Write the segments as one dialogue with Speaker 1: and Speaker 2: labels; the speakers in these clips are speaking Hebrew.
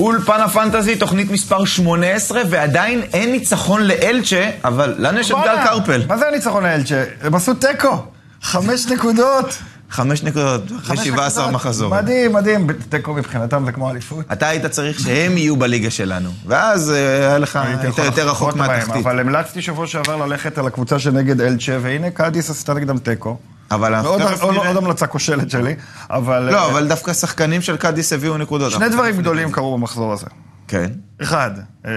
Speaker 1: אולפן הפנטזי, תוכנית מספר 18, ועדיין אין ניצחון לאלצ'ה, אבל לנו יש את גל
Speaker 2: בואנה,
Speaker 1: קרפל.
Speaker 2: מה זה הניצחון לאלצ'ה? הם עשו תיקו. חמש נקודות.
Speaker 1: חמש נקודות, אחרי
Speaker 2: חמש
Speaker 1: 17
Speaker 2: נקודות.
Speaker 1: מחזורים.
Speaker 2: מדהים, מדהים. תיקו מבחינתם זה כמו אליפות.
Speaker 1: אתה היית צריך שהם יהיו בליגה שלנו, ואז אה, היה לך,
Speaker 2: הייתי
Speaker 1: היית
Speaker 2: יכול
Speaker 1: יותר
Speaker 2: לחכות
Speaker 1: רחוק
Speaker 2: בהם,
Speaker 1: מהתחתית.
Speaker 2: אבל המלצתי שבוע שעבר ללכת על הקבוצה שנגד אלצ'ה, והנה קאדיס עשתה נגדם תיקו.
Speaker 1: אבל אנחנו
Speaker 2: ועוד
Speaker 1: תכף
Speaker 2: עוד-
Speaker 1: נראה.
Speaker 2: עוד המלצה כושלת שלי, אבל...
Speaker 1: לא,
Speaker 2: אה,
Speaker 1: אבל דווקא שחקנים של קאדיס הביאו נקודות.
Speaker 2: שני
Speaker 1: אנחנו
Speaker 2: דברים
Speaker 1: תכף
Speaker 2: גדולים
Speaker 1: נראה.
Speaker 2: קרו במחזור הזה.
Speaker 1: כן.
Speaker 2: אחד, אה,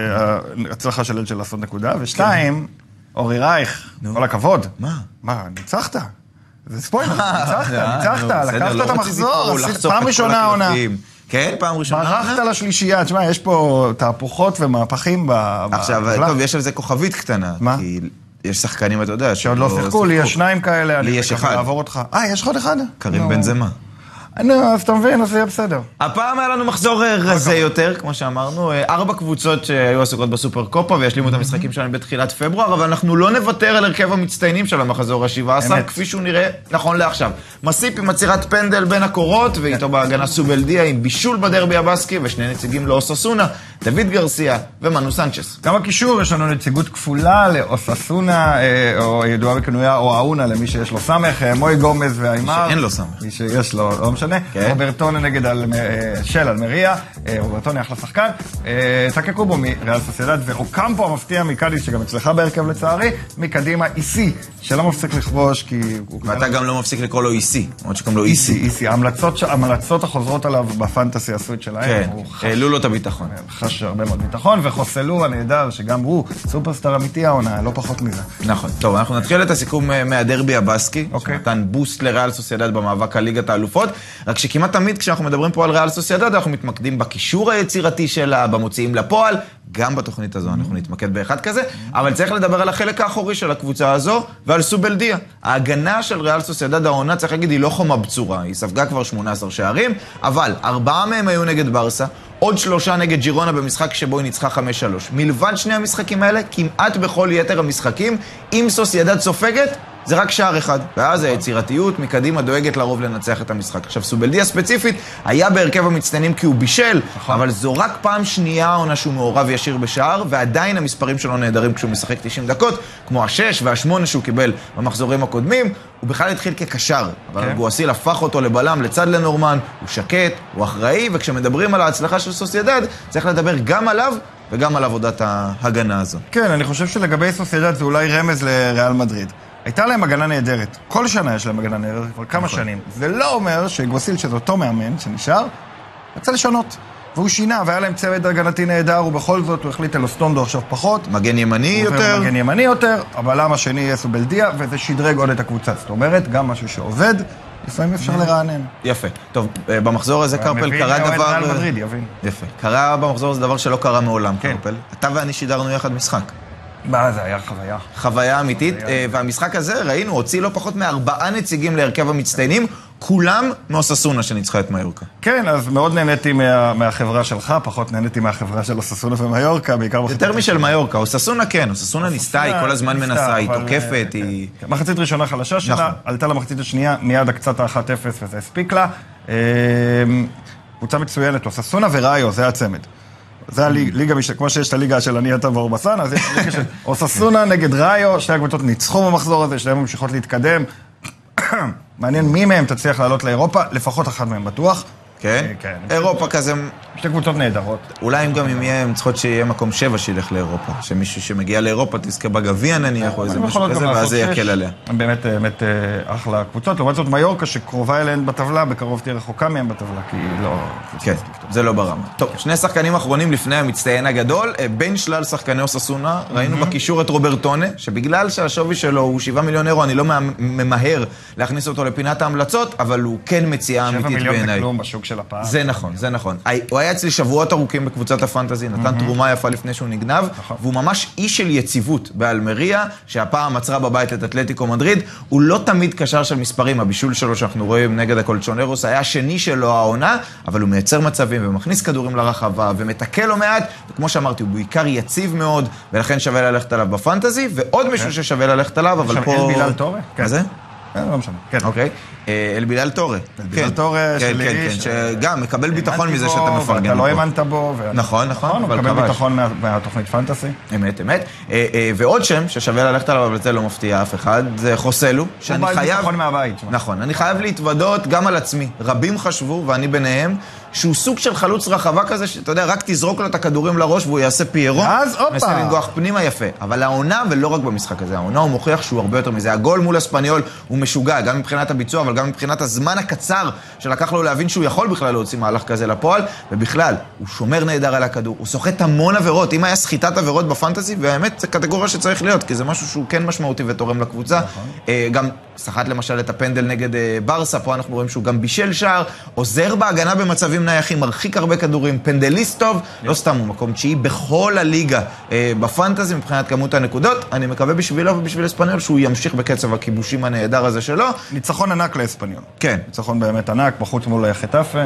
Speaker 2: ההצלחה של אלצ'ה לעשות נקודה,
Speaker 1: כן.
Speaker 2: ושתיים, אורי רייך, כל הכבוד.
Speaker 1: מה?
Speaker 2: מה, ניצחת. זה ספוילר, ניצחת,
Speaker 1: אה,
Speaker 2: ניצחת,
Speaker 1: נו, בסדר,
Speaker 2: לקחת
Speaker 1: לא
Speaker 2: את
Speaker 1: רציתי
Speaker 2: המחזור,
Speaker 1: פה
Speaker 2: עשית-
Speaker 1: לחשוף את
Speaker 2: פעם
Speaker 1: כל
Speaker 2: ראשונה העונה.
Speaker 1: הקלפים. כן, פעם ראשונה.
Speaker 2: ברחת לשלישייה, תשמע, יש פה תהפוכות ומהפכים ב... ב-
Speaker 1: עכשיו,
Speaker 2: בטבלה.
Speaker 1: טוב, יש על זה כוכבית קטנה.
Speaker 2: מה?
Speaker 1: כי יש שחקנים, אתה יודע,
Speaker 2: שעוד לא שיחקו, לי יש שניים כאלה,
Speaker 1: לי
Speaker 2: אני
Speaker 1: יש
Speaker 2: מקווה
Speaker 1: אחד.
Speaker 2: לעבור אותך. אה, יש לך עוד אחד?
Speaker 1: קרים
Speaker 2: נו.
Speaker 1: בן זמה.
Speaker 2: נו, אז אתה מבין, אז יהיה בסדר.
Speaker 1: הפעם היה לנו מחזור אה, רזה יותר, כמו שאמרנו. אה, ארבע קבוצות שהיו עסוקות בסופר קופה וישלימו את המשחקים שלהם בתחילת פברואר, אבל אנחנו לא נוותר על הרכב המצטיינים של המחזור ה-17,
Speaker 2: אמת.
Speaker 1: כפי שהוא נראה נכון לעכשיו. מסיפ עם עצירת פנדל בין הקורות, ואיתו בהגנה סובלדיה עם בישול בדרבי הבסקי ושני נציגים לאוססונה, דוד גרסיה ומנו סנצ'ס.
Speaker 2: גם בקישור יש לנו נציגות כפולה לאוססונה, אה, או ידועה בכינויה או אהונה, למי שיש לו סמך, אה, מוי גומז והאימר.
Speaker 1: שאין לו סמך.
Speaker 2: מי שיש לו, לא משנה.
Speaker 1: כן.
Speaker 2: רוברטונה נגד אל- אה, של אלמריה, אה, רוברטונה אחלה שחקן. אה, טקה קובו מריאל סוסיידד, ואוקמפו המפתיע מקאדיס, שגם אצלך בהרכב לצערי, מקדימה איסי, שלא מפסיק לכבוש, כי הוא...
Speaker 1: ואתה גם לא מפסיק לקרוא לו איסי, למרות שקוראים לו E איסי.
Speaker 2: איסי, איסי. ההמלצות ש- ההמלצות החוזרות עליו בפנטסי עשו את שלהם.
Speaker 1: כן,
Speaker 2: הוא חש-
Speaker 1: העלו לו את הביטחון.
Speaker 2: חש הרבה מאוד ביטחון, וחוסלו הנהדר, שגם הוא סופרסטאר אמיתי העונה, לא פחות מזה.
Speaker 1: נכון. טוב, אנחנו נתחיל את הסיכום אה, מהדרבי הבסקי,
Speaker 2: אוקיי.
Speaker 1: שנתן בוסט לריאל סוסיידד במאבק על ליגת האלופות, רק שכמעט תמיד כשאנחנו מדברים פה על ריאל סוסיידד, אנחנו מתמקדים בקישור היצירתי שלה, במוציאים לפועל, גם בתוכנית הזו אנחנו נתמקד באחד כזה, אבל צריך לדבר על החלק האחורי של הקבוצה הזו ועל סובלדיה. ההגנה של ריאל סוסיידד העונה, צריך להגיד, היא לא חומה בצורה, היא ספגה כבר 18 שערים, אבל ארבעה מהם היו נגד ברסה. עוד שלושה נגד ג'ירונה במשחק שבו היא ניצחה 5-3. מלבד שני המשחקים האלה, כמעט בכל יתר המשחקים, אם סוסיידד סופגת, זה רק שער אחד, ואז היצירתיות מקדימה דואגת לרוב לנצח את המשחק. עכשיו, סובלדיה ספציפית היה בהרכב המצטיינים כי הוא בישל,
Speaker 2: נכון.
Speaker 1: אבל זו רק פעם שנייה העונה שהוא מעורב ישיר בשער, ועדיין המספרים שלו נהדרים כשהוא משחק 90 דקות, כמו השש והשמונה שהוא קיבל במחזורים הקודמים. הוא בכלל התחיל כקשר, אבל
Speaker 2: כן.
Speaker 1: גואסיל הפך אותו לבלם לצד לנורמן, הוא שקט, הוא אחראי, וכשמדברים על ההצלחה של סוסיידד, צריך לדבר גם עליו וגם על עבודת ההגנה הזו.
Speaker 2: כן, אני חושב שלגבי סוסיידד זה אולי רמז לריאל מדריד. הייתה להם הגנה נהדרת. כל שנה יש להם הגנה נהדרת, כבר כמה שנים. זה לא אומר שגוסיל, שזה אותו מאמן שנשאר, רצה לשנות. והוא שינה, והיה להם צוות הגנתי נהדר, ובכל זאת הוא החליט על אוסטונדו עכשיו פחות.
Speaker 1: מגן ימני
Speaker 2: הוא עובר
Speaker 1: יותר.
Speaker 2: למגן ימני יותר, הבלם השני יהיה סובלדיה, וזה שדרג עוד את הקבוצה. זאת אומרת, גם משהו שעובד, לפעמים אפשר לרענן.
Speaker 1: יפה. טוב, אה, במחזור הזה קרפל
Speaker 2: מבין,
Speaker 1: קרה
Speaker 2: אוהד
Speaker 1: דבר... אה,
Speaker 2: ריאל מדריד, יבין.
Speaker 1: יפה. קרה במחזור הזה דבר שלא קרה מעולם,
Speaker 2: כן.
Speaker 1: קרפל. אתה ואני שידרנו יחד משחק.
Speaker 2: מה, זה היה חוויה.
Speaker 1: חוויה אמיתית,
Speaker 2: חוויה.
Speaker 1: אה, והמשחק הזה, ראינו, הוציא לא פחות מארבעה נציגים להרכב המצטיינים, כולם מאוססונה שניצחה את מיורקה.
Speaker 2: כן, אז מאוד נהניתי מה, מהחברה שלך, פחות נהניתי מהחברה של אוססונה ומיורקה, בעיקר בחצי...
Speaker 1: יותר משל מיורקה, אוססונה כן, אוססונה ניסתה, היא כל הזמן
Speaker 2: ניסתה,
Speaker 1: מנסה, היא
Speaker 2: אבל,
Speaker 1: תוקפת,
Speaker 2: אה,
Speaker 1: היא...
Speaker 2: כן. מחצית ראשונה חלשה שלה,
Speaker 1: נכון.
Speaker 2: עלתה למחצית השנייה, מיד הקצת ה-1-0 וזה הספיק לה. אה, קבוצה מצוינת, אוססונה וראיו, זה הצמד. זה הליג- ליגה, מש- כמו שיש את הליגה של אני, אתה ואורבסן, אז יש ליגה של אוססונה נגד ראיו, שתי הקבוצות ניצחו במחזור הזה, שתיהן ממשיכות להתקדם. מעניין מי מהם תצליח לעלות לאירופה, לפחות אחת מהם בטוח.
Speaker 1: כן?
Speaker 2: אה, כן.
Speaker 1: אירופה כזה,
Speaker 2: שתי קבוצות נהדרות.
Speaker 1: אולי אם גם אם יהיה, הן צריכות שיהיה מקום שבע שילך לאירופה. שמישהו שמגיע לאירופה תזכה בגביע נניח, או איזה
Speaker 2: הן
Speaker 1: משהו
Speaker 2: אה, יכולות גם
Speaker 1: כזה, ואז
Speaker 2: לעשות
Speaker 1: זה
Speaker 2: שש.
Speaker 1: יקל עליה.
Speaker 2: הן באמת, באמת אה, אחלה קבוצות. לעומת זאת מיורקה, שקרובה אליהן בטבלה, בקרוב תהיה רחוקה מהן בטבלה, כי היא לא...
Speaker 1: כן, זה לא ברמה. טוב, שני שחקנים אחרונים לפני המצטיין הגדול, אה, בין שלל שחקני אוססונה, ראינו בקישור את רוברטונה, שבגלל שהשווי שלו הוא 7 מיליון אירו, אני לא מה- ממהר להכניס אותו לפינת ההמלצות, אבל הוא כן מציאה
Speaker 2: שבע
Speaker 1: אמיתית
Speaker 2: מיליון זה
Speaker 1: בעיניי.
Speaker 2: כלום בשוק של הפעם.
Speaker 1: זה נכון, זה נכון. הי- הוא היה אצלי שבועות ארוכים בקבוצת הפנטזי, נתן תרומה יפה לפני שהוא נגנב,
Speaker 2: נכון.
Speaker 1: והוא ממש איש של יציבות באלמריה, שהפעם עצרה בבית את אתלטיקו מדריד. הוא לא תמיד קשר של מספרים, הבישול שלו שאנחנו רואים נגד הקולצ'ונרוס היה השני שלו העונה, אבל הוא מייצר מצבים ומכניס כדורים לרחבה ומתקל לא מעט, וכמו שאמרתי, הוא בעיקר יציב מאוד, ולכן שווה ללכת עליו בפנטזי, ועוד מישהו ששווה ללכת עליו, אבל
Speaker 2: עכשיו,
Speaker 1: פה...
Speaker 2: כן. אל בילאל טורה?
Speaker 1: מה
Speaker 2: כן.
Speaker 1: זה?
Speaker 2: כן, לא משנה. כן.
Speaker 1: אוקיי. אה, אלבילל טורה.
Speaker 2: אלבילל
Speaker 1: כן.
Speaker 2: טורה
Speaker 1: כן,
Speaker 2: שלי,
Speaker 1: כן, כן,
Speaker 2: ש-
Speaker 1: שגם מקבל ביטחון
Speaker 2: האמנתי
Speaker 1: מזה
Speaker 2: בו,
Speaker 1: שאתה מפרגן.
Speaker 2: ואתה
Speaker 1: לו
Speaker 2: לא
Speaker 1: פה.
Speaker 2: האמנת בו. ו-
Speaker 1: נכון, נכון,
Speaker 2: נכון, הוא
Speaker 1: אבל
Speaker 2: מקבל
Speaker 1: כבש.
Speaker 2: ביטחון מה- מהתוכנית פנטסי.
Speaker 1: אמת, אמת. אה, אה, ועוד שם ששווה ללכת עליו, אבל זה לא מפתיע אף אחד, זה חוסלו, שאני
Speaker 2: בא עם
Speaker 1: חייב...
Speaker 2: ביטחון מהבית, שמע.
Speaker 1: נכון, אני חייב להתוודות גם על עצמי. רבים חשבו, ואני ביניהם, שהוא סוג של חלוץ רחבה כזה, שאתה יודע, רק תזרוק לו את הכדורים לראש והוא יעשה פיירו.
Speaker 2: ואז, הופה.
Speaker 1: מנסה לנגוח פנימה יפה. אבל העונה, ולא רק במשחק הזה, העונה הוא מוכיח שהוא הרבה יותר מזה. הגול מול אספניול הוא משוגע, גם מבחינת הביצוע, אבל גם מבחינת הזמן הקצר שלקח לו להבין שהוא יכול בכלל להוציא מהלך כזה לפועל. ובכלל, הוא שומר נהדר על הכדור, הוא סוחט המון עבירות. אם היה סחיטת עבירות בפנטזי, והאמת, זו קטגוריה שצריך להיות, כי זה משהו שהוא כן משמעותי ותורם לקבוצה.
Speaker 2: נכון.
Speaker 1: אה, גם סחט למשל את הפנדל נגד אה, ברסה, פה אנחנו רואים שהוא גם בישל שער, עוזר בהגנה במצבים נייחים, מרחיק הרבה כדורים, פנדליסט טוב, לא סתם הוא מקום תשיעי בכל הליגה אה, בפנטזי מבחינת כמות הנקודות. אני מקווה בשבילו ובשביל אספניול שהוא ימשיך בקצב הכיבושים הנהדר הזה שלו.
Speaker 2: ניצחון ענק לאספניון.
Speaker 1: כן.
Speaker 2: ניצחון באמת ענק, בחוץ מול חטאפה.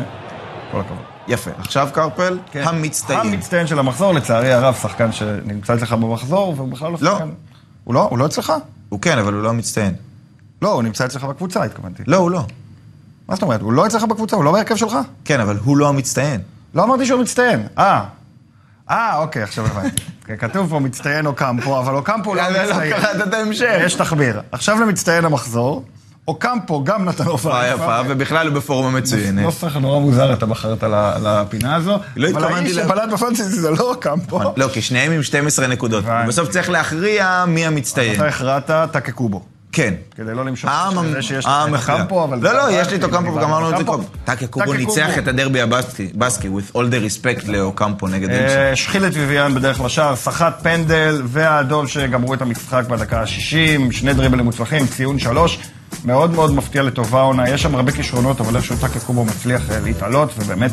Speaker 2: כל הכבוד.
Speaker 1: יפה. עכשיו קרפל,
Speaker 2: כן.
Speaker 1: המצטיין.
Speaker 2: המצטיין של המחזור, לצערי הרב, שחקן שנמצא אצלך במחזור, והוא בכלל לא
Speaker 1: לא.
Speaker 2: שחקן. הוא לא? הוא לא אצלך?
Speaker 1: הוא כן, אבל הוא לא המצטיין.
Speaker 2: לא, הוא נמצא אצלך בקבוצה, התכוונתי.
Speaker 1: לא, הוא לא.
Speaker 2: מה זאת אומרת? הוא לא אצלך בקבוצה, הוא לא בהרכב שלך?
Speaker 1: כן, אבל הוא לא המצטיין.
Speaker 2: לא אמרתי שהוא מצטיין. אה. אה, אוקיי, עכשיו הבנתי. כן, כתוב פה מצטיין אוקמפו, אבל אוקמפו הוא לא מצטיין.
Speaker 1: את ההמשך.
Speaker 2: יש תחביר. עכשיו למצטיין המחזור, אוקמפו גם נתן הופעה
Speaker 1: יפה, ובכלל הוא בפורמה מצוינת.
Speaker 2: נוסח נורא מוזר אתה בחרת ל- לפינה הזו.
Speaker 1: לא
Speaker 2: אבל
Speaker 1: התכוונתי
Speaker 2: האיש
Speaker 1: ל-
Speaker 2: שבלט בפנטסי זה לא אוקמפו.
Speaker 1: לא, כי שניהם עם 12 נקודות.
Speaker 2: הבנתי.
Speaker 1: בסוף צריך להכריע מי המצטיין.
Speaker 2: אתה הכרעת, תקעקעו בו.
Speaker 1: כן.
Speaker 2: כדי לא למשוך
Speaker 1: העם
Speaker 2: את זה שיש לך את
Speaker 1: המכריע.
Speaker 2: הקמפו, אבל...
Speaker 1: לא,
Speaker 2: זה
Speaker 1: לא,
Speaker 2: הבנתי,
Speaker 1: יש לי את אוקמפו,
Speaker 2: דיברנו
Speaker 1: וגמרנו את זה
Speaker 2: אוקמפו.
Speaker 1: קודם. טאקה קובו
Speaker 2: טאקה
Speaker 1: ניצח
Speaker 2: קובו.
Speaker 1: את הדרבי הבסקי, בסקי, with all the respect לאוקמפו נגד אלשן.
Speaker 2: אה, השחיל את ויויאן בדרך לשער, סחט פנדל והאדום שגמרו את המשחק בדקה ה-60, שני דריבלים מוצלחים, ציון שלוש. מאוד מאוד מפתיע לטובה העונה, יש שם הרבה כישרונות, אבל איכשהו טאקה קובו מצליח אה, להתעלות, ובאמת,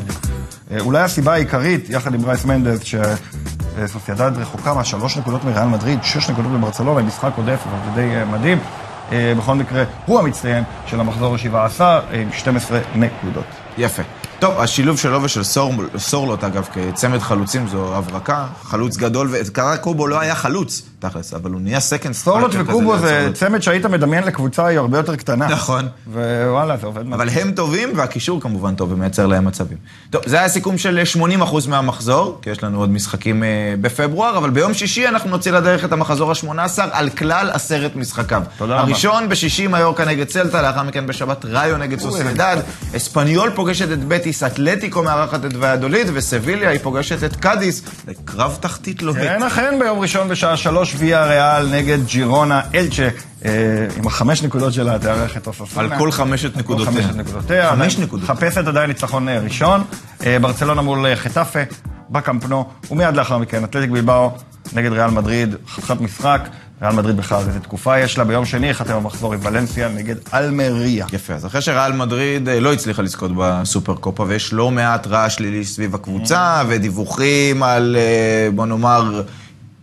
Speaker 2: אה, אולי הסיבה העיקרית, יחד עם ברייס מנדז, שסוסיידד אה, רחוקה מהשלוש נקודות מריאל מדריד, שש נקודות בברצלונה, משחק עודף, אבל זה די אה, מדהים. אה, בכל מקרה, הוא המצטיין של המחזור ה-17 עם 12 נקודות.
Speaker 1: יפה. טוב, השילוב שלו ושל סור- סורלוט, אגב, כצמד חלוצים זו הברקה, חלוץ גדול, וקרא קובו לא היה חלוץ, תכלס, אבל הוא נהיה סקנד
Speaker 2: סורלוט וקובו זה צמד שהיית מדמיין לקבוצה היא הרבה יותר קטנה.
Speaker 1: נכון.
Speaker 2: ווואלה, זה עובד מדהים.
Speaker 1: אבל הם טובים, והקישור כמובן טוב ומייצר להם מצבים. טוב, זה היה סיכום של 80% מהמחזור, כי יש לנו עוד משחקים אה, בפברואר, אבל ביום שישי אנחנו נוציא לדרך את המחזור ה-18 על כלל עשרת משחקיו.
Speaker 2: תודה רבה.
Speaker 1: הראשון בשישי מיורקה נגד סלטה, לאחר מכן בשבת ראיו נגד סוסיידד, אספניול פוגשת את בטיס, אתלטיקו מארחת את ויאדוליד, וסביליה היא פוגשת את קאדיס, לקרב תחתית לוהט.
Speaker 2: כן, אכן, ביום ראשון בשעה שלוש ויה ריאל נגד ג'ירונה אלצ'ה, אה, עם החמש נקודות שלה תארח את אוססונה.
Speaker 1: על כל חמשת נקודותיה.
Speaker 2: חמשת נקודותיה.
Speaker 1: חמש
Speaker 2: עדיין
Speaker 1: נקודות.
Speaker 2: מחפשת עדיין ניצחון אה, ראשון. אה, ברצלונה מול אה, חטאפה, בקמפנו, ומיד לאחר מכן, אתלטיק בלבאו נגד ריאל מדריד, חתיכת משחק. ריאל מדריד בכלל, איזה תקופה יש לה. ביום שני ייחתם המחזור עם ולנסיה נגד אלמריה.
Speaker 1: יפה, אז אחרי שריאל מדריד אה, לא הצליחה לזכות בסופר קופה, ויש לא מעט רעש שלילי סביב הקבוצה, ודיווחים על, אה, בוא נאמר,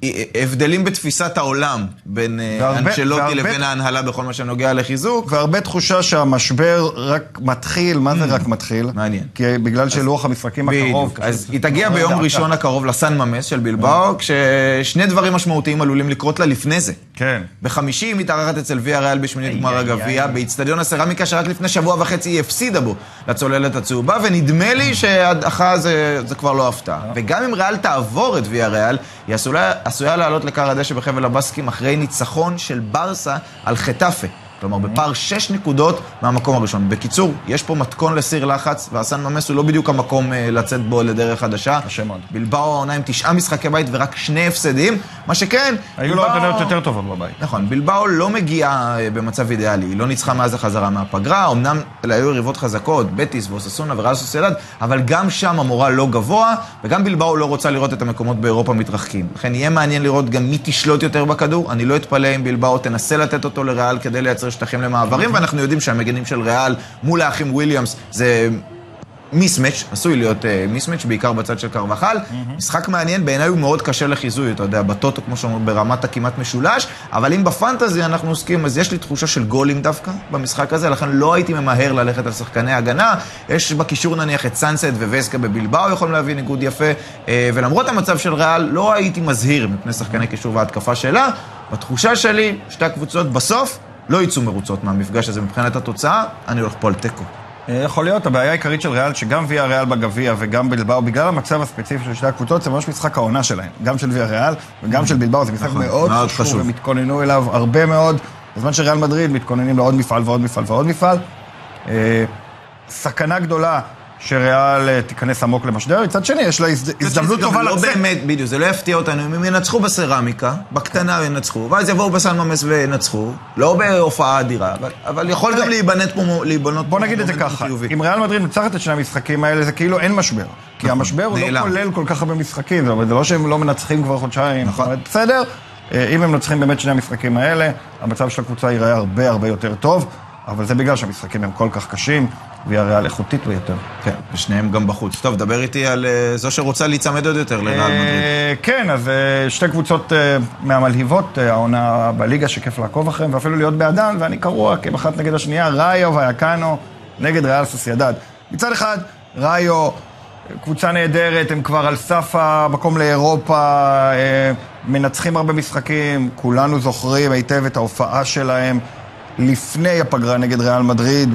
Speaker 1: אה, אה, הבדלים בתפיסת העולם בין אה,
Speaker 2: והרבה-
Speaker 1: אנשלוטי
Speaker 2: והרבה-
Speaker 1: לבין ההנהלה בכל מה שנוגע לחיזוק.
Speaker 2: והרבה תחושה שהמשבר רק מתחיל, מה זה רק מתחיל?
Speaker 1: Hmm. מעניין.
Speaker 2: כי בגלל שלוח המשחקים הקרוב... לא
Speaker 1: בדיוק, אז
Speaker 2: קשה-
Speaker 1: היא תגיע ביום
Speaker 2: דווקא.
Speaker 1: ראשון הקרוב לסן ממס של בלבאו, כששני דברים משמעותיים עלולים לקרות לה לפני זה.
Speaker 2: כן.
Speaker 1: בחמישי היא מתארחת אצל ויה ריאל בשמינית גמר
Speaker 2: איי,
Speaker 1: הגביע, באיצטדיון הסרמיקה שרק לפני שבוע וחצי היא הפסידה בו לצוללת הצהובה, ונדמה לי שהדחה זה, זה כבר לא הפתעה.
Speaker 2: אה.
Speaker 1: וגם אם ריאל תעבור את ויה ריאל, היא עשויה, עשויה לעלות לכר הדשא בחבל הבאסקים אחרי ניצחון של ברסה על חטאפה.
Speaker 2: אה.
Speaker 1: כלומר, בפער שש נקודות מהמקום הראשון. בקיצור, יש פה מתכון לסיר לחץ, והסן ממס הוא לא בדיוק המקום אה, לצאת בו לדרך חדשה.
Speaker 2: קשה מאוד.
Speaker 1: בלבאו העונה עם תשעה משחקי בית ורק שני הפסדים, מה שכן...
Speaker 2: היו לו
Speaker 1: בלבאו-
Speaker 2: הגנות יותר טובות בבית.
Speaker 1: נכון, בלבאו לא מגיעה אה, במצב אידיאלי, היא לא ניצחה מאז החזרה מהפגרה, אמנם אלה היו יריבות חזקות, בטיס ואוססונה וריאל סוסיידד, אבל גם שם המורל לא גבוה, וגם בלבאו לא רוצה לראות את המקומות באירופה מתרחקים. לכן יהיה מעניין לראות גם מי תשלוט יותר בכדור, אני לא אתפלא אם בלבאו תנסה לתת אותו לריאל כדי לייצר שטחים למעברים, ואנחנו יודעים שהמגנים של ריאל מול האחים וויליאמס זה מיסמץ', עשוי להיות אה, מיסמץ', בעיקר בצד של קרבחל. משחק מעניין, בעיניי הוא מאוד קשה לחיזוי, אתה יודע, בטוטו, כמו שאומרים, ברמת הכמעט משולש, אבל אם בפנטזי אנחנו עוסקים, אז יש לי תחושה של גולים דווקא במשחק הזה, לכן לא הייתי ממהר ללכת על שחקני הגנה. יש בקישור נניח את סאנסט וווסקה בבלבאו יכולים להביא ניגוד יפה, אה, ולמרות המצב של ריאל, לא הייתי מזהיר מפני שחקני קישור וההתקפה שלה. בתחושה שלי, שתי הקבוצות בסוף לא יצאו מרוצות מהמפגש הזה מבחינת התוצאה, אני הולך פה על תיקו.
Speaker 2: אה, יכול להיות, הבעיה העיקרית של ריאל, שגם ויה ריאל בגביע וגם בלבאו, בגלל המצב הספציפי של שתי הקבוצות, זה ממש משחק העונה שלהם. גם של ויה ריאל וגם של בלבאו, זה משחק
Speaker 1: נכון,
Speaker 2: מאוד
Speaker 1: מאוד
Speaker 2: חשוב,
Speaker 1: חשוב.
Speaker 2: הם התכוננו אליו הרבה מאוד, בזמן שריאל מדריד מתכוננים לעוד מפעל ועוד מפעל ועוד מפעל. אה, סכנה גדולה שריאל אה, תיכנס עמוק למשדר, מצד שני, יש לה הזד- הזדמנות
Speaker 1: זה גם
Speaker 2: טובה
Speaker 1: לא
Speaker 2: לצאת.
Speaker 1: באמת, בדיוק, זה לא יפתיע אותנו אם הם ינצחו בסרמיקה, בקטנה ינצחו, ואז יבואו בסן ממס וינצחו, לא בהופעה אדירה, אבל- אבל יכול גם להיבנות פה, מו- להיבנות
Speaker 2: בוא
Speaker 1: פה
Speaker 2: נגיד את זה
Speaker 1: מומנטום
Speaker 2: ככה,
Speaker 1: חיובי.
Speaker 2: אם ריאל מדריד מנצחת את שני המשחקים האלה, זה כאילו אין משבר. כי המשבר הוא לא
Speaker 1: נכון. נעלם.
Speaker 2: כולל כל כך הרבה משחקים, זאת אומרת, זה לא שהם לא מנצחים כבר חודשיים,
Speaker 1: נכון.
Speaker 2: זאת אומרת, בסדר. אה, אם הם מנצחים באמת שני המשחקים האלה, המצב של הקבוצה ייראה הרבה הרבה יותר טוב, אבל זה בגלל שהמשחקים הם כל כך קשים, והיא הריאל איכותית ביותר.
Speaker 1: כן, ושניהם גם בחוץ. טוב, דבר איתי על אה, זו שרוצה להיצמד עוד יותר לריאל מדריד.
Speaker 2: אה, כן, אז אה, שתי קבוצות אה, מהמלהיבות, אה, העונה בליגה שכיף לעקוב אחריהן, ואפילו להיות בעדן, ואני קרוע, כי הם אחת נגד השנייה, ראיו ויקאנו נגד ריאל סוסיידד. מצד אחד, ראיו, קבוצה נהדרת, הם כבר על סף המקום לאירופה, אה, מנצחים הרבה משחקים, כולנו זוכרים היטב את ההופעה שלהם לפני הפגרה נגד ריאל מדריד,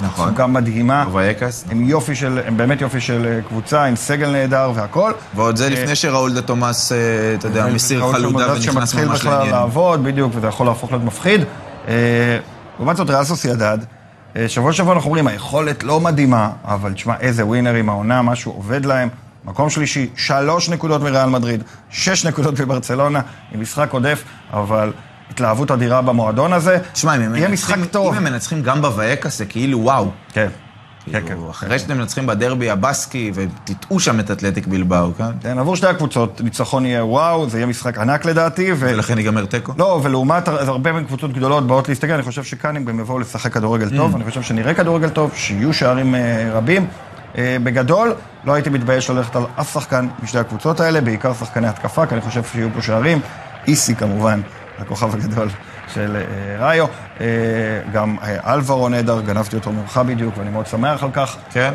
Speaker 1: נכון.
Speaker 2: בתפוקה מדהימה.
Speaker 1: ובייקס.
Speaker 2: הם יופי של, הם באמת יופי של אה, קבוצה, עם סגל נהדר והכול.
Speaker 1: ועוד זה לפני שראול דה תומאס, אה, אתה יודע, מסיר
Speaker 2: אה, ראול
Speaker 1: חלודה
Speaker 2: שמונדס
Speaker 1: ונכנס
Speaker 2: שמתחיל
Speaker 1: ממש
Speaker 2: בכלל
Speaker 1: לעניין.
Speaker 2: לעבוד, בדיוק, וזה יכול להפוך להיות מפחיד. אה, לעומת זאת, ריאל סוסיידד, אה, שבוע שבוע אנחנו אומרים, היכולת לא מדהימה, אבל תשמע, איזה ווינרים העונה, משהו עובד להם. מקום שלישי, שלוש נקודות מריאל מדריד, שש נקודות מברצלונה, עם משחק עודף, אבל התלהבות אדירה במועדון הזה.
Speaker 1: תשמע, אם הם
Speaker 2: יהיה משחק
Speaker 1: מנצחים-
Speaker 2: טוב.
Speaker 1: אם הם מנצחים גם בוואקס, זה כאילו וואו.
Speaker 2: כן, כן, כן.
Speaker 1: כאילו, אחרי שאתם מנצחים בדרבי הבסקי, ותטעו שם את אתלטיק בלבאו, כן?
Speaker 2: כן, עבור שתי הקבוצות, ניצחון יהיה וואו, זה יהיה משחק ענק לדעתי, ו...
Speaker 1: ולכן ייגמר תיקו?
Speaker 2: לא, ולעומת הר- אז הרבה מן קבוצות גדולות באות להסתכל, אני חושב שכאן הם גם יבואו לשחק כדורגל
Speaker 1: Mm.
Speaker 2: טוב, אני חושב שנראה כדורגל טוב, שיהיו שערים אה, רבים. אה, בגדול, לא הייתי מתבייש ללכת על אף שחקן משתי הקבוצות האלה, בעיקר שחקני התקפה, כי אני חושב שיהיו פה שערים. איסי כמובן, הכוכב הגדול של אה, ראיו. אה, גם אה, אלברו נהדר, גנבתי אותו ממך בדיוק, ואני מאוד שמח על כך.
Speaker 1: כן?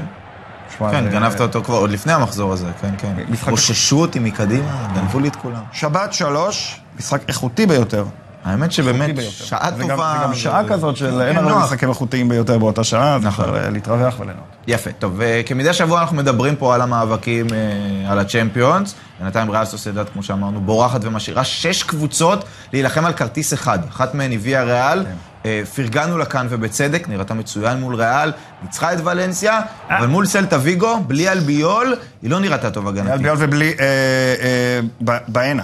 Speaker 2: שמע,
Speaker 1: כן,
Speaker 2: זה-
Speaker 1: גנבת אותו כבר עוד לפני המחזור הזה, כן, כן.
Speaker 2: אה, משחק-
Speaker 1: רוששו אותי מקדימה, גנבו לי את כולם.
Speaker 2: שבת שלוש, משחק איכותי ביותר.
Speaker 1: האמת שבאמת,
Speaker 2: ביותר.
Speaker 1: שעה
Speaker 2: זה גם-
Speaker 1: טובה. כן,
Speaker 2: זה גם שעה כזאת של אין הרבה
Speaker 1: נוח.
Speaker 2: משחקים איכותיים ביותר באותה שעה, אז
Speaker 1: נכון.
Speaker 2: אפשר אה, להתרווח וליהנות.
Speaker 1: יפה, טוב, וכמדי שבוע אנחנו מדברים פה על המאבקים, אה, על הצ'מפיונס. בינתיים ריאל סוסיידד, כמו שאמרנו, בורחת ומשאירה שש קבוצות להילחם על כרטיס אחד. אחת מהן הביאה ריאל,
Speaker 2: כן.
Speaker 1: אה, פרגנו לה כאן ובצדק, נראתה מצוין מול ריאל, ניצחה את ולנסיה,
Speaker 2: אה.
Speaker 1: אבל מול סלטה ויגו, בלי אלביול, היא לא נראתה טוב
Speaker 2: אייל
Speaker 1: הגנתית.
Speaker 2: ביאל ובלי, אה, אה, ב- בעינה.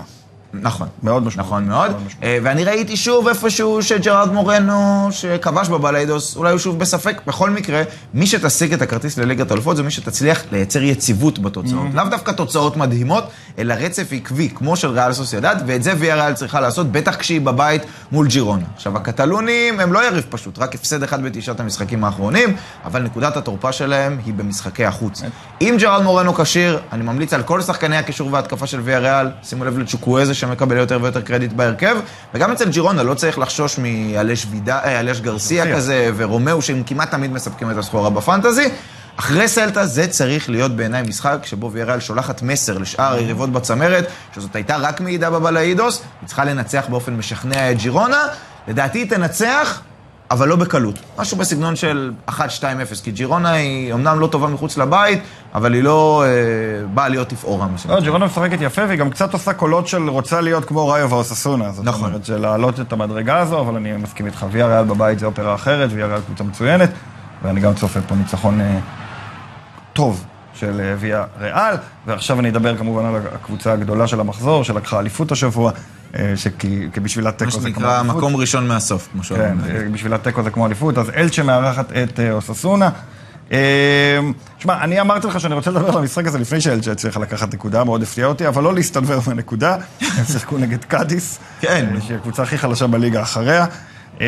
Speaker 1: נכון.
Speaker 2: מאוד משמעותי.
Speaker 1: נכון מאוד.
Speaker 2: מאוד משמעותי.
Speaker 1: אה, ואני ראיתי שוב איפשהו שג'רארד מורנו, שכבש בבליידוס, אולי הוא שוב בספק. בכל מקרה, מי שתשיג את הכרטיס לליגת האלופות זה מי שתצליח לייצר יציבות בתוצאות.
Speaker 2: Mm-hmm.
Speaker 1: לאו דווקא תוצאות מדהימות, אלא רצף עקבי, כמו של ריאל סוסיידד, ואת זה ויה ריאל צריכה לעשות, בטח כשהיא בבית מול ג'ירונה. עכשיו, הקטלונים הם לא יריב פשוט, רק הפסד אחד בתשעת המשחקים האחרונים, אבל נקודת התורפה שלהם היא במשחקי החוץ. אם ג'רארד מורנו כשיר, אני ממליץ על כל שחקני הקישור וההתקפה של ויה ריאל, שימו לב לצ'וקוויזה שמקבל יותר ויותר קרדיט בהרכב, וגם אצל ג'ירונה לא צריך לחשוש מאלש וידא- אה, אלש גרסיה
Speaker 2: גרסיה.
Speaker 1: כזה ורומאו, שהם כמעט תמיד מספקים את הסחורה בפנטזי. אחרי סלטה זה צריך להיות בעיניי משחק שבו ויה ריאל שולחת מסר לשאר היריבות בצמרת, שזאת הייתה רק מעידה בבלאידוס, היא צריכה לנצח באופן משכנע את ג'ירונה, לדעתי היא תנצח, אבל לא בקלות. משהו בסגנון של 1-2-0, כי ג'ירונה היא אמנם לא טובה מחוץ לבית, אבל היא לא אה, באה להיות תפאורה, מה שנקרא.
Speaker 2: לא, ג'ירונה משחקת יפה, והיא גם קצת עושה קולות של רוצה להיות כמו ראיו ואוססונה. זאת
Speaker 1: נכון.
Speaker 2: אומרת, של להעלות את המדרגה הזו, אבל אני מסכים איתך, ויה ריאל בבית זה אופרה אחרת, ויה ריאל קבוצה מצוינת, ואני גם צופה פה ניצחון אה, טוב של אה, ויה ריאל. ועכשיו אני אדבר כמובן על הקבוצה הגדולה של המחזור, שלקחה אליפות השבוע, אה, שכי- כי בשביל
Speaker 1: מה
Speaker 2: התיקו אוקיי, זה כמו
Speaker 1: שנקרא,
Speaker 2: אליפות.
Speaker 1: מקום ראשון מהסוף, כמו
Speaker 2: כן,
Speaker 1: שאומרים.
Speaker 2: אה, בשביל התיקו זה כמו אליפות, אז אלצ'ה מארחת את אה, אוססונה. אה, שמע, אני אמרתי לך שאני רוצה לדבר על המשחק הזה לפני שאלצ'ה הצליחה לקחת נקודה, מאוד הפתיע אותי, אבל לא להסתנוור מהנקודה, הם שיחקו נגד קאדיס.
Speaker 1: כן.
Speaker 2: אה, שהיא הקבוצה הכי חלשה בליגה אחריה. אה,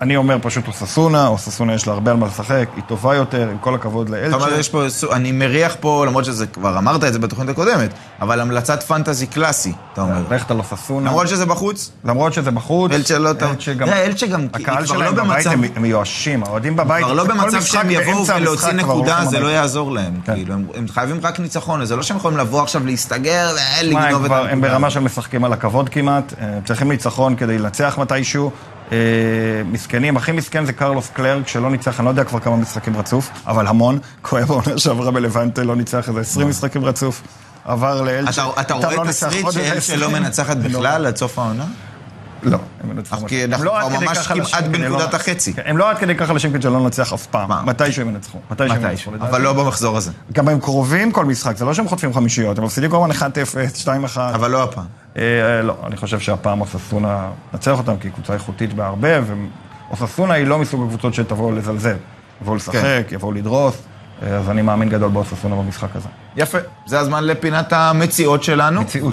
Speaker 2: אני אומר פשוט אוססונה, אוססונה יש לה הרבה על מה לשחק, היא טובה יותר, עם כל הכבוד
Speaker 1: אתה אומר,
Speaker 2: לאלצ'ה.
Speaker 1: יש פה, סו- אני מריח פה, למרות שזה כבר אמרת את זה בתוכנית הקודמת, אבל המלצת פנטזי קלאסי, אתה אומר.
Speaker 2: ללכת על אוססונה.
Speaker 1: למרות שזה בחוץ,
Speaker 2: למרות שזה בחוץ.
Speaker 1: אלצ'ה לא טוב.
Speaker 2: אלצ'ה גם...
Speaker 1: תראה, אלצ'ה גם- היא
Speaker 2: הקהל
Speaker 1: כבר
Speaker 2: שלהם
Speaker 1: לא
Speaker 2: בבית
Speaker 1: במצב-
Speaker 2: הם הם מיואשים, האוהדים בבית...
Speaker 1: כבר לא
Speaker 2: כל
Speaker 1: במצב
Speaker 2: משחק
Speaker 1: שהם יבואו
Speaker 2: באמצע
Speaker 1: ולהוציא
Speaker 2: המשחק כבר
Speaker 1: נקודה,
Speaker 2: הולכים
Speaker 1: זה לא
Speaker 2: הביתה.
Speaker 1: יעזור להם.
Speaker 2: כן.
Speaker 1: כאילו, הם- הם חייבים רק ניצחון, זה לא שהם יכולים לבוא עכשיו להסתגר, אה,
Speaker 2: מה,
Speaker 1: לגנוב
Speaker 2: הם
Speaker 1: את
Speaker 2: כבר- הם
Speaker 1: הנקודה.
Speaker 2: ברמה שהם משחקים על הכבוד כמעט, אה, הם צריכים ניצחון כדי לנצח מתישהו. אה, מסכנים, הכי מסכן זה קרלוס קלרק, שלא ניצח, אני לא יודע כבר כמה משחקים רצוף, אבל המון. כואב העונה שעברה בלבנטה, לא ניצח איזה 20 משחקים רצוף. עבר לאלצ'ה.
Speaker 1: אתה- אתה
Speaker 2: איתם
Speaker 1: רואה
Speaker 2: לא
Speaker 1: את
Speaker 2: ניצח
Speaker 1: הסריט
Speaker 2: עוד איזה
Speaker 1: שהם
Speaker 2: 20.
Speaker 1: שלא מנצחת בכלל עד סוף העונה?
Speaker 2: לא, הם מנצחים.
Speaker 1: אך
Speaker 2: אותם.
Speaker 1: כי אנחנו
Speaker 2: הם לא
Speaker 1: כבר
Speaker 2: עד כדי
Speaker 1: ממש
Speaker 2: כך חלשים
Speaker 1: כמעט
Speaker 2: כדי לא-
Speaker 1: בנקודת החצי.
Speaker 2: כן, הם לא עד כדי כך חלשים כדי שלא ננצח אף
Speaker 1: מה?
Speaker 2: פעם. מתישהו הם ינצחו. מתישהו הם
Speaker 1: מתישהו,
Speaker 2: ינצחו. לדעתי.
Speaker 1: אבל לא במחזור הזה.
Speaker 2: גם הם קרובים כל משחק, זה לא שהם חוטפים חמישיות, הם מפסידים כל הזמן 1-0, 2-1.
Speaker 1: אבל לא הפעם.
Speaker 2: אה, אה, לא, אני חושב שהפעם אוססונה נצח אותם, כי היא קבוצה איכותית בהרבה, ואוססונה היא לא מסוג הקבוצות שתבואו לזלזל. יבואו לשחק, יבואו לדרוס, אה, אז אני מאמין גדול באוססונה במשחק הזה.
Speaker 1: יפה, זה הזמן לפינת המציאות שלנו.
Speaker 2: מציאות.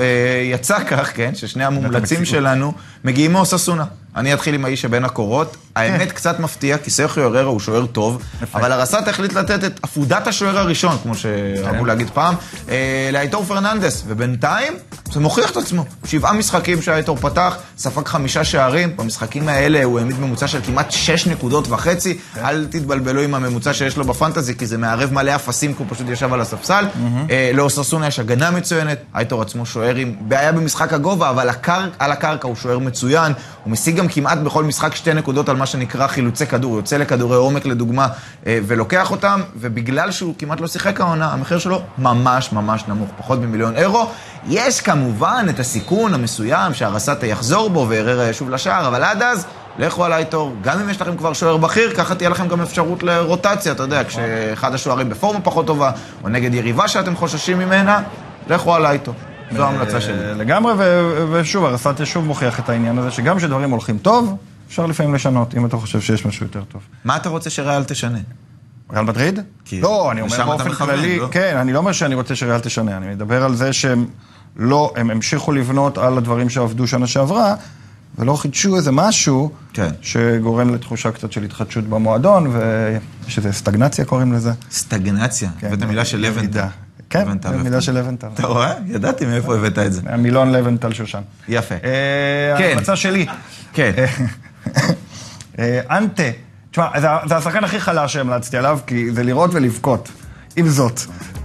Speaker 1: ויצא כך, כן, ששני המומלצים
Speaker 2: המציאות.
Speaker 1: שלנו מגיעים מאוססונה. אני אתחיל עם האיש שבין הקורות. האמת קצת מפתיע, כי סרחיו אררה הוא שוער טוב, אבל הרסת החליט לתת את עפודת השוער הראשון, כמו שאמרו להגיד פעם, אה, לאייטור פרננדס, ובינתיים זה מוכיח את עצמו. שבעה משחקים שהאייטור פתח, ספג חמישה שערים, במשחקים האלה הוא העמיד ממוצע של כמעט שש נקודות וחצי. אל תתבלבלו עם הממוצע שיש לו בפנטזי, כי זה מערב מלא אפסים, כי הוא פשוט ישב על הספסל. אה, לאוססונה יש הגנה מצוינת, אייטור עצמו שוער עם בעיה במשחק הגובה, אבל הקר- על הקרקע הוא שוער מצוין. הוא משיג גם כמעט בכל משחק שתי נקודות על מה שנקרא חילוצי כדור. הוא יוצא לכדורי עומק לדוגמה אה, ולוקח אותם, ובגלל שהוא כמעט לא שיחק העונה, המחיר שלו ממש ממש נמוך, פחות ממיליון אירו. יש כמובן את הסיכון המסוים שהרסטה יחזור בו והררה ישוב לשער, אבל עד אז... לכו על אייטור, גם אם יש לכם כבר שוער בכיר, ככה תהיה לכם גם אפשרות לרוטציה, אתה יודע, כשאחד השוערים בפורמה פחות טובה, או נגד יריבה שאתם חוששים ממנה, לכו על אייטור. זו ההמלצה שלי.
Speaker 2: אה, לגמרי, ו- ושוב, הרסת שוב מוכיח את העניין הזה, שגם כשדברים הולכים טוב, אפשר לפעמים לשנות, אם אתה חושב שיש משהו יותר טוב.
Speaker 1: מה אתה רוצה שריאל תשנה?
Speaker 2: ריאל מדריד?
Speaker 1: כי-
Speaker 2: לא, אני
Speaker 1: לשם
Speaker 2: אומר
Speaker 1: אתה
Speaker 2: באופן
Speaker 1: מכוון,
Speaker 2: כללי,
Speaker 1: לא?
Speaker 2: כן, אני לא אומר שאני רוצה שריאל תשנה, אני מדבר על זה שהם לא, הם המשיכו לבנות על הדברים שעבדו שנה שעברה, ולא חידשו איזה משהו,
Speaker 1: כן.
Speaker 2: שגורם לתחושה קצת של התחדשות במועדון, ויש איזה סטגנציה קוראים לזה.
Speaker 1: סטגנציה. הבאת מילה של לבנטל.
Speaker 2: כן, ירידה. כן,
Speaker 1: לבנטל,
Speaker 2: זו מילה
Speaker 1: לבנטל.
Speaker 2: של לבנטל.
Speaker 1: אתה רואה? ידעתי מאיפה הבאת את זה.
Speaker 2: המילון לבנטל שושן.
Speaker 1: יפה.
Speaker 2: אה,
Speaker 1: כן.
Speaker 2: ההמלצה שלי.
Speaker 1: כן.
Speaker 2: אה, אנטה. תשמע, זה, זה השחקן הכי חלש שהמלצתי עליו, כי זה לראות ולבכות. עם זאת,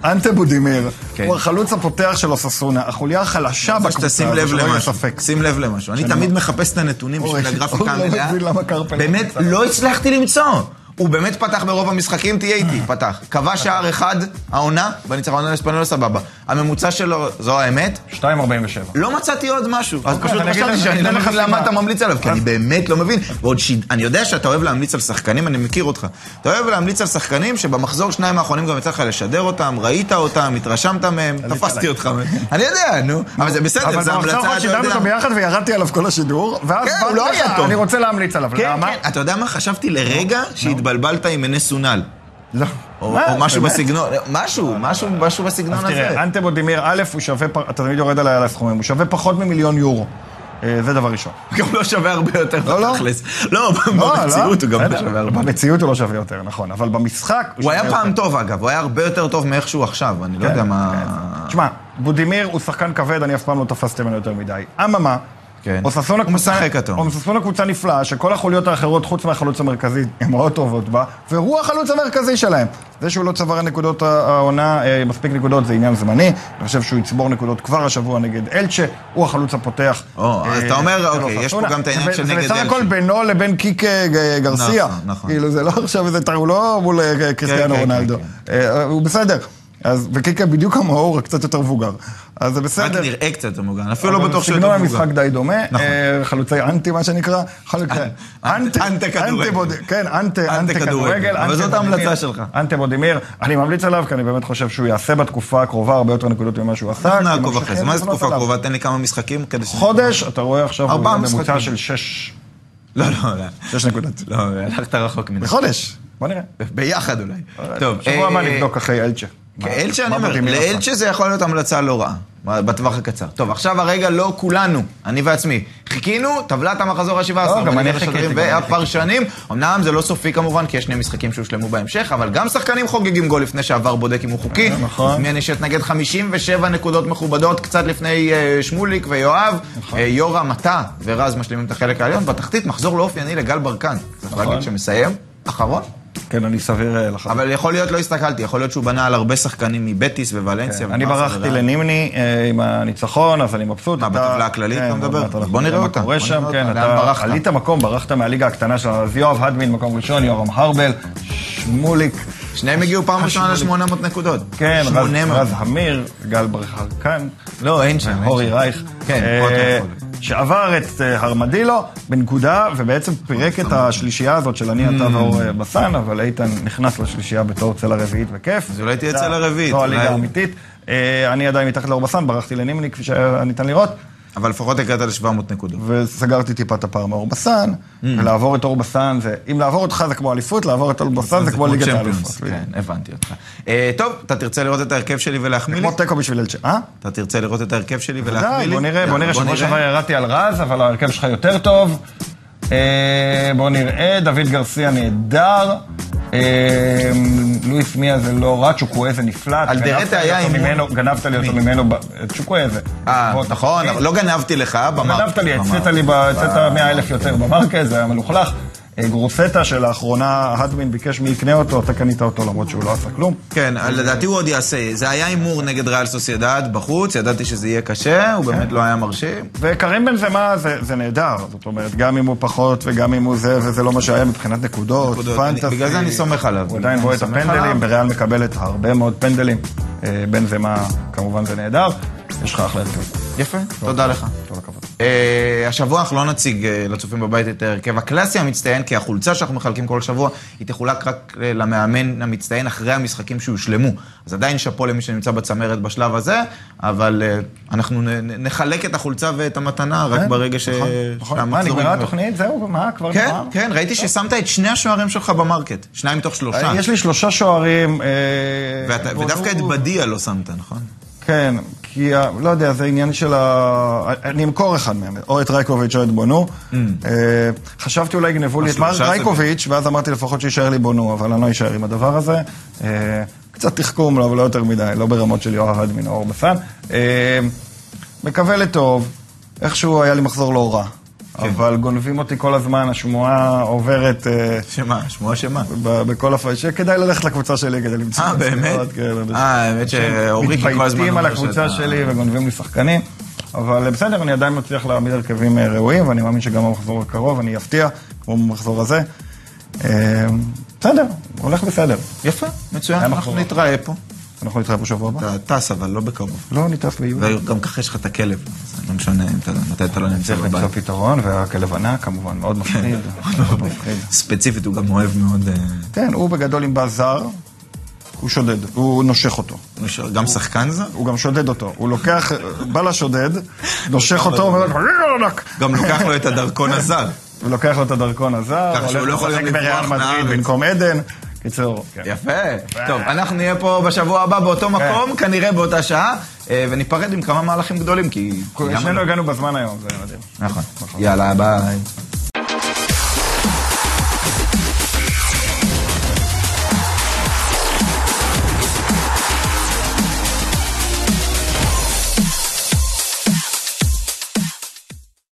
Speaker 2: אנטה בודימיר,
Speaker 1: כן.
Speaker 2: הוא החלוץ הפותח של אוססונה, החוליה החלשה
Speaker 1: אני רוצה
Speaker 2: בקבוצה,
Speaker 1: שתשים
Speaker 2: הזו,
Speaker 1: לב
Speaker 2: שלא יהיה
Speaker 1: למשהו.
Speaker 2: לא ספק.
Speaker 1: שים לב למשהו. אני תמיד מחפש את הנתונים בשביל
Speaker 2: אורן,
Speaker 1: הגרפיקה
Speaker 2: הוא לא
Speaker 1: המלאה.
Speaker 2: מבין למה קרפל לא
Speaker 1: באמת,
Speaker 2: נמצא.
Speaker 1: לא הצלחתי למצוא. הוא באמת פתח ברוב המשחקים, תהיה איתי, פתח. כבש שער אחד, העונה, בניצחון על אספניול סבבה. הממוצע שלו, זו האמת,
Speaker 2: 2.47.
Speaker 1: לא מצאתי עוד משהו. אז
Speaker 2: אוקיי,
Speaker 1: פשוט
Speaker 2: אז אני אגיד
Speaker 1: חשבתי
Speaker 2: לך-
Speaker 1: שאני
Speaker 2: אני
Speaker 1: לא
Speaker 2: אתן לך
Speaker 1: מבין למה
Speaker 2: סיבה.
Speaker 1: אתה ממליץ עליו, כי אני
Speaker 2: אז-
Speaker 1: באמת לא מבין. ועוד ש... אני יודע שאתה אוהב להמליץ על שחקנים, אני מכיר אותך. אתה אוהב להמליץ על שחקנים שבמחזור שניים האחרונים גם יצא לך לשדר אותם, ראית אותם, התרשמת מהם, תפסתי
Speaker 2: עליי.
Speaker 1: אותך. אני יודע, נו. אבל זה בסדר,
Speaker 2: אבל
Speaker 1: זו
Speaker 2: גם עכשיו
Speaker 1: המלצה,
Speaker 2: כבר
Speaker 1: אתה יודע.
Speaker 2: שידרנו אותו ביחד וירדתי עליו כל השידור, ואז
Speaker 1: כן, הוא
Speaker 2: באתי
Speaker 1: לא
Speaker 2: לך,
Speaker 1: היה טוב.
Speaker 2: אני רוצה להמליץ עליו.
Speaker 1: כן,
Speaker 2: למה?
Speaker 1: כן. אתה יודע מה? חשבתי לרגע שהתבלבלת עם אנס סונל.
Speaker 2: לא.
Speaker 1: או
Speaker 2: מה?
Speaker 1: או משהו
Speaker 2: באמת?
Speaker 1: בסגנון, משהו, משהו משהו בסגנון
Speaker 2: אז
Speaker 1: הזה.
Speaker 2: תראה, אנטה בודימיר, א', הוא שווה, פ- אתה תמיד יורד עליי על הסכומים, הוא שווה פחות ממיליון יורו. אה, זה דבר ראשון.
Speaker 1: גם לא שווה הרבה יותר
Speaker 2: לא, לא.
Speaker 1: בתכלס. לא,
Speaker 2: לא, לא.
Speaker 1: במציאות הוא גם לא
Speaker 2: בסדר,
Speaker 1: שווה הרבה.
Speaker 2: במציאות הוא לא שווה יותר, נכון, אבל במשחק...
Speaker 1: הוא
Speaker 2: שווה
Speaker 1: היה פעם
Speaker 2: יותר.
Speaker 1: טוב אגב, הוא היה הרבה יותר טוב מאיך שהוא עכשיו, אני לא יודע
Speaker 2: כן,
Speaker 1: מה...
Speaker 2: כן. תשמע, בודימיר הוא שחקן כבד, אני אף פעם לא תפסתי ממנו יותר מדי. אממה,
Speaker 1: כן.
Speaker 2: אוססונה
Speaker 1: הוא
Speaker 2: קבוצה-
Speaker 1: משחק אותו.
Speaker 2: אוססונה קבוצה נפלאה, שכל החוליות האחרות, חוץ מהחלוץ המרכזי, הן מאוד טובות בה, והוא החלוץ המרכזי שלהם. זה שהוא לא צבר נקודות העונה, אה, מספיק נקודות, זה עניין זמני. אני חושב שהוא יצבור נקודות כבר השבוע נגד אלצ'ה, הוא החלוץ הפותח.
Speaker 1: או, אז
Speaker 2: אה,
Speaker 1: אתה אומר,
Speaker 2: של
Speaker 1: אוקיי, יש פה
Speaker 2: אוססונה.
Speaker 1: גם את העניין
Speaker 2: זה-
Speaker 1: של נגד
Speaker 2: זה בסך הכל
Speaker 1: אלצ'ה.
Speaker 2: בינו לבין קיק אה, ג- גרסיה.
Speaker 1: נכון, נכון.
Speaker 2: כאילו, זה לא עכשיו איזה, טע- הוא לא מול אה,
Speaker 1: כן,
Speaker 2: קריסטיאנו
Speaker 1: כן,
Speaker 2: רונלדו.
Speaker 1: כן.
Speaker 2: אה, הוא בסדר. אז, וקיקה בדיוק כמוהו, הוא רק קצת יותר מבוגר. אז זה
Speaker 1: רק
Speaker 2: בסדר.
Speaker 1: נראה קצת מוגן, אפילו לא
Speaker 2: אבל
Speaker 1: בטוח שהוא
Speaker 2: סגנון
Speaker 1: יותר
Speaker 2: המשחק
Speaker 1: מבוגר.
Speaker 2: די דומה,
Speaker 1: נכון.
Speaker 2: אה, חלוצי אנטי, מה שנקרא. חלוצי-
Speaker 1: אנטי-
Speaker 2: אנטי-
Speaker 1: אנטי כדורגל.
Speaker 2: בוד- כן, אנטי
Speaker 1: אנטי
Speaker 2: אנטי
Speaker 1: כדורגל.
Speaker 2: כדורגל.
Speaker 1: אבל
Speaker 2: אנטי
Speaker 1: זאת
Speaker 2: בודימיר.
Speaker 1: ההמלצה שלך.
Speaker 2: אנטי בודימיר, אני ממליץ עליו, כי אני באמת חושב שהוא יעשה בתקופה הקרובה הרבה יותר נקודות ממה שהוא עשה.
Speaker 1: אנחנו
Speaker 2: כי
Speaker 1: נעקוב
Speaker 2: ממשיכים
Speaker 1: אחרי זה, לא, מה זה
Speaker 2: לבנות
Speaker 1: תקופה
Speaker 2: עליו.
Speaker 1: קרובה? תן לי כמה משחקים כדי ש...
Speaker 2: לא חודש, אתה רואה עכשיו, הוא
Speaker 1: ארבעה
Speaker 2: בממוצע
Speaker 1: משחקים.
Speaker 2: של שש
Speaker 1: לא, לא, לא.
Speaker 2: שש נקודות.
Speaker 1: לא, הלכת רחוק מזה.
Speaker 2: בחודש, בוא נראה.
Speaker 1: ביחד אולי. טוב,
Speaker 2: שבוע
Speaker 1: אה,
Speaker 2: הבא נבדוק אחרי אלצ'ה.
Speaker 1: כן, אלצ'ה, אני
Speaker 2: מה
Speaker 1: אומר,
Speaker 2: בודימיר עשה.
Speaker 1: לאלצ'ה זה יכול להיות המלצה לא רעה. מה- בטווח הקצר. טוב, עכשיו הרגע לא כולנו, אני ועצמי, חיכינו, טבלת המחזור ה-17,
Speaker 2: לא, גם אני חיכיתי,
Speaker 1: השדרים
Speaker 2: גם אני
Speaker 1: והפרשנים. אמנם זה לא סופי כמובן, כי יש שני משחקים שהושלמו בהמשך, אבל גם שחקנים חוגגים גול לפני שעבר בודק אם הוא חוקי.
Speaker 2: נכון.
Speaker 1: מי אני שאתנגד 57 נקודות מכובדות, קצת לפני אה, שמוליק ויואב.
Speaker 2: נכון.
Speaker 1: אה, יורם, אתה ורז משלימים את החלק העליון. בתחתית, מחזור לא אופייני לגל ברקן. צריך
Speaker 2: נכון.
Speaker 1: להגיד שמסיים, אחרון.
Speaker 2: כן, אני סביר אה, לחלוטין.
Speaker 1: אבל יכול להיות, לא הסתכלתי, יכול להיות שהוא בנה על הרבה שחקנים מבטיס וולנסיה.
Speaker 2: כן, אני
Speaker 1: וברסה
Speaker 2: ברחתי
Speaker 1: וריאל.
Speaker 2: לנימני אה, עם הניצחון, אז אני מבסוט.
Speaker 1: מה,
Speaker 2: אתה-
Speaker 1: בטבלה הכללית
Speaker 2: כן,
Speaker 1: אתה מדבר?
Speaker 2: בטבלה
Speaker 1: אז בוא נראה
Speaker 2: מה
Speaker 1: אותה,
Speaker 2: קורה
Speaker 1: בוא
Speaker 2: שם,
Speaker 1: נראה
Speaker 2: כן,
Speaker 1: אותה.
Speaker 2: אתה
Speaker 1: לאן ברחת?
Speaker 2: עלית מקום, ברחת מהליגה הקטנה שלנו, אז יואב הדמין מקום ראשון, יורם הרבל, שמוליק,
Speaker 1: שניהם הגיעו פעם ראשונה ל-800 נקודות.
Speaker 2: כן, רז-
Speaker 1: 800.
Speaker 2: רז המיר, גל ברחרקן,
Speaker 1: לא, אין שם. אין
Speaker 2: אורי
Speaker 1: שם.
Speaker 2: רייך,
Speaker 1: כן,
Speaker 2: אה,
Speaker 1: פה אתה יכול.
Speaker 2: שעבר את אה, הרמדילו בנקודה, ובעצם פירק את השלישייה הזאת של אני,
Speaker 1: Hmm.
Speaker 2: אתה ואור אה, בסן, אבל איתן נכנס לשלישייה בתור צלע רביעית בכיף.
Speaker 1: אז אולי תהיה
Speaker 2: זה-
Speaker 1: צלע רביעית,
Speaker 2: זו הליגה
Speaker 1: אולי-
Speaker 2: האמיתית. אה, אני עדיין מתחת לאור בסן, ברחתי לנימני, כפי שהיה ניתן לראות,
Speaker 1: אבל לפחות הגעת ל-700 נקודות.
Speaker 2: וסגרתי טיפה את הפער מאור בסן,
Speaker 1: Hmm.
Speaker 2: ולעבור את אור בסן זה... אם לעבור אותך זה כמו אליפות, לעבור את אור בסן זה כמו ליגת
Speaker 1: צ'מפיונס.
Speaker 2: האלופות.
Speaker 1: כן, הבנתי אותך. אה, טוב, אתה תרצה לראות את ההרכב שלי ולהחמיא לי?
Speaker 2: כמו תיקו בשביל אלצ'ה, אה?
Speaker 1: אתה תרצה לראות את ההרכב שלי ולהחמיא לי? לא,
Speaker 2: די, בוא נראה, בוא
Speaker 1: יאללה,
Speaker 2: נראה, שבוע שעבר ירדתי על רז, אבל ההרכב שלך יותר טוב. אה, בוא נראה, דוד גרסיה נהדר. אה, לואיס מיה זה לא רע, צ'וקווה זה נפלט.
Speaker 1: אלדרטה
Speaker 2: גנבת לי
Speaker 1: היה
Speaker 2: אותו
Speaker 1: עם-
Speaker 2: ממנו- גנבת לי אותו ממנו, ב- צ'וקווה זה.
Speaker 1: אה,
Speaker 2: בוא,
Speaker 1: נכון,
Speaker 2: תחתית.
Speaker 1: אבל אה. לא גנבתי לך, במרקט.
Speaker 2: גנבת לי,
Speaker 1: במרקט.
Speaker 2: הצאת לי, ב- הצאת 100 אלף יותר במרקט, זה היה מלוכלך. אה, גרוסטה שלאחרונה הדמין ביקש מי יקנה אותו, אתה קנית אותו למרות שהוא לא עשה כלום.
Speaker 1: כן, אבל לדעתי הוא עוד יעשה. זה היה הימור נגד ריאל סוסיידד בחוץ, ידעתי שזה יהיה קשה, הוא באמת לא היה מרשים.
Speaker 2: וקרים בנזמה זה, זה נהדר, זאת אומרת, גם אם הוא פחות וגם אם הוא זה, וזה לא מה שהיה מבחינת נקודות,
Speaker 1: נקודות,
Speaker 2: פנטסי.
Speaker 1: אני- בגלל זה אני סומך עליו.
Speaker 2: הוא עדיין
Speaker 1: אני
Speaker 2: רואה את
Speaker 1: סומך
Speaker 2: הפנדלים,
Speaker 1: עליו.
Speaker 2: בריאל מקבלת הרבה מאוד פנדלים. אה, בנזמה, כמובן זה נהדר, יש לך אחלה הרכב.
Speaker 1: יפה, תודה לך.
Speaker 2: כל הכבוד.
Speaker 1: אה, השבוע אנחנו לא נציג אה, לצופים בבית את ההרכב הקלאסי המצטיין, כי החולצה שאנחנו מחלקים כל שבוע, היא תחולק רק אה, למאמן המצטיין אחרי המשחקים שהושלמו. אז עדיין שאפו למי שנמצא בצמרת בשלב הזה, אבל אה, אנחנו נ- נ- נחלק את החולצה ואת המתנה רק
Speaker 2: כן,
Speaker 1: ברגע ש...
Speaker 2: נכון, נכון. מה,
Speaker 1: שהמחזור
Speaker 2: נגמרה
Speaker 1: נגמר.
Speaker 2: התוכנית? אה? זהו, מה, כבר
Speaker 1: כן,
Speaker 2: נגמר?
Speaker 1: כן, ראיתי ששמת את שני השוערים שלך במרקט, שניים מתוך שלושה.
Speaker 2: אה, יש לי שלושה שוערים. אה,
Speaker 1: ואתה-
Speaker 2: בודו-
Speaker 1: ודווקא את בדיה לא שמת, נכון?
Speaker 2: כן, כי, ה- לא יודע, זה עניין של ה... אני אמכור אחד מהם, או את רייקוביץ' או את בונו. אה, חשבתי אולי יגנבו לי את מר
Speaker 1: Mm. השלושה זה-
Speaker 2: רייקוביץ', ואז אמרתי לפחות שיישאר לי בונו, אבל אני לא אשאר עם הדבר הזה. אה, קצת תחכום, לא, אבל לא יותר מדי, לא ברמות של יואב אדמין או אור בסן. אה, מקווה לטוב, איכשהו היה לי מחזור לא רע.
Speaker 1: כן.
Speaker 2: אבל גונבים אותי כל הזמן, השמועה עוברת... אה,
Speaker 1: שמה, שמועה שמה.
Speaker 2: ב- בכל הפרש, שכדאי ללכת לקבוצה שלי כדי למצוא...
Speaker 1: אה,
Speaker 2: את
Speaker 1: באמת?
Speaker 2: הסיבות, כן, אנשים
Speaker 1: אה, האמת שאוריקי כל הזמן
Speaker 2: כן. מתבייתים על
Speaker 1: אומר
Speaker 2: הקבוצה
Speaker 1: שאתה-
Speaker 2: שלי וגונבים לי שחקנים, אבל אה, בסדר, אני עדיין מצליח להעמיד הרכבים אה, ראויים, ואני מאמין שגם במחזור הקרוב אני אפתיע, כמו במחזור הזה. אה, בסדר, הולך בסדר.
Speaker 1: יפה, מצוין,
Speaker 2: היה
Speaker 1: אנחנו
Speaker 2: מחזור.
Speaker 1: נתראה פה.
Speaker 2: אנחנו נתראה פה שבוע הבא.
Speaker 1: אתה טס, אבל לא בקרוב.
Speaker 2: לא, נטס ביולי.
Speaker 1: וגם ככה יש לך את הכלב, אז לא משנה אם אתה- מתי אתה לא נמצא
Speaker 2: צריך למצוא
Speaker 1: בבית.
Speaker 2: פתרון, והכלב ענק כמובן,
Speaker 1: כן.
Speaker 2: מאוד מפחיד. מאוד מפחיד.
Speaker 1: ספציפית, הוא גם אוהב מאוד, אה,
Speaker 2: כן, הוא בגדול עם באז זר, הוא שודד, הוא נושך אותו.
Speaker 1: הוא ש- גם שחקן זה,
Speaker 2: הוא גם שודד אותו. הוא לוקח, אה, בא לשודד, נושך אותו, אומר לו, "אה, ענק",
Speaker 1: גם לוקח לו את הדרכון הזר.
Speaker 2: ולוקח לו את הדרכון הזר,
Speaker 1: ככה שהוא
Speaker 2: הולך
Speaker 1: לא יכול
Speaker 2: לשחק
Speaker 1: גם לברוח
Speaker 2: בריאל מדריד
Speaker 1: מהארץ.
Speaker 2: במקום עדן. קיצור, כן.
Speaker 1: יפה. טוב, אנחנו נהיה פה בשבוע הבא באותו מקום, כנראה באותה שעה, אה, וניפרד עם כמה מהלכים גדולים, כי... גם-
Speaker 2: שנינו הגענו בזמן היום, זה מדהים.
Speaker 1: נכון. יאללה, ביי.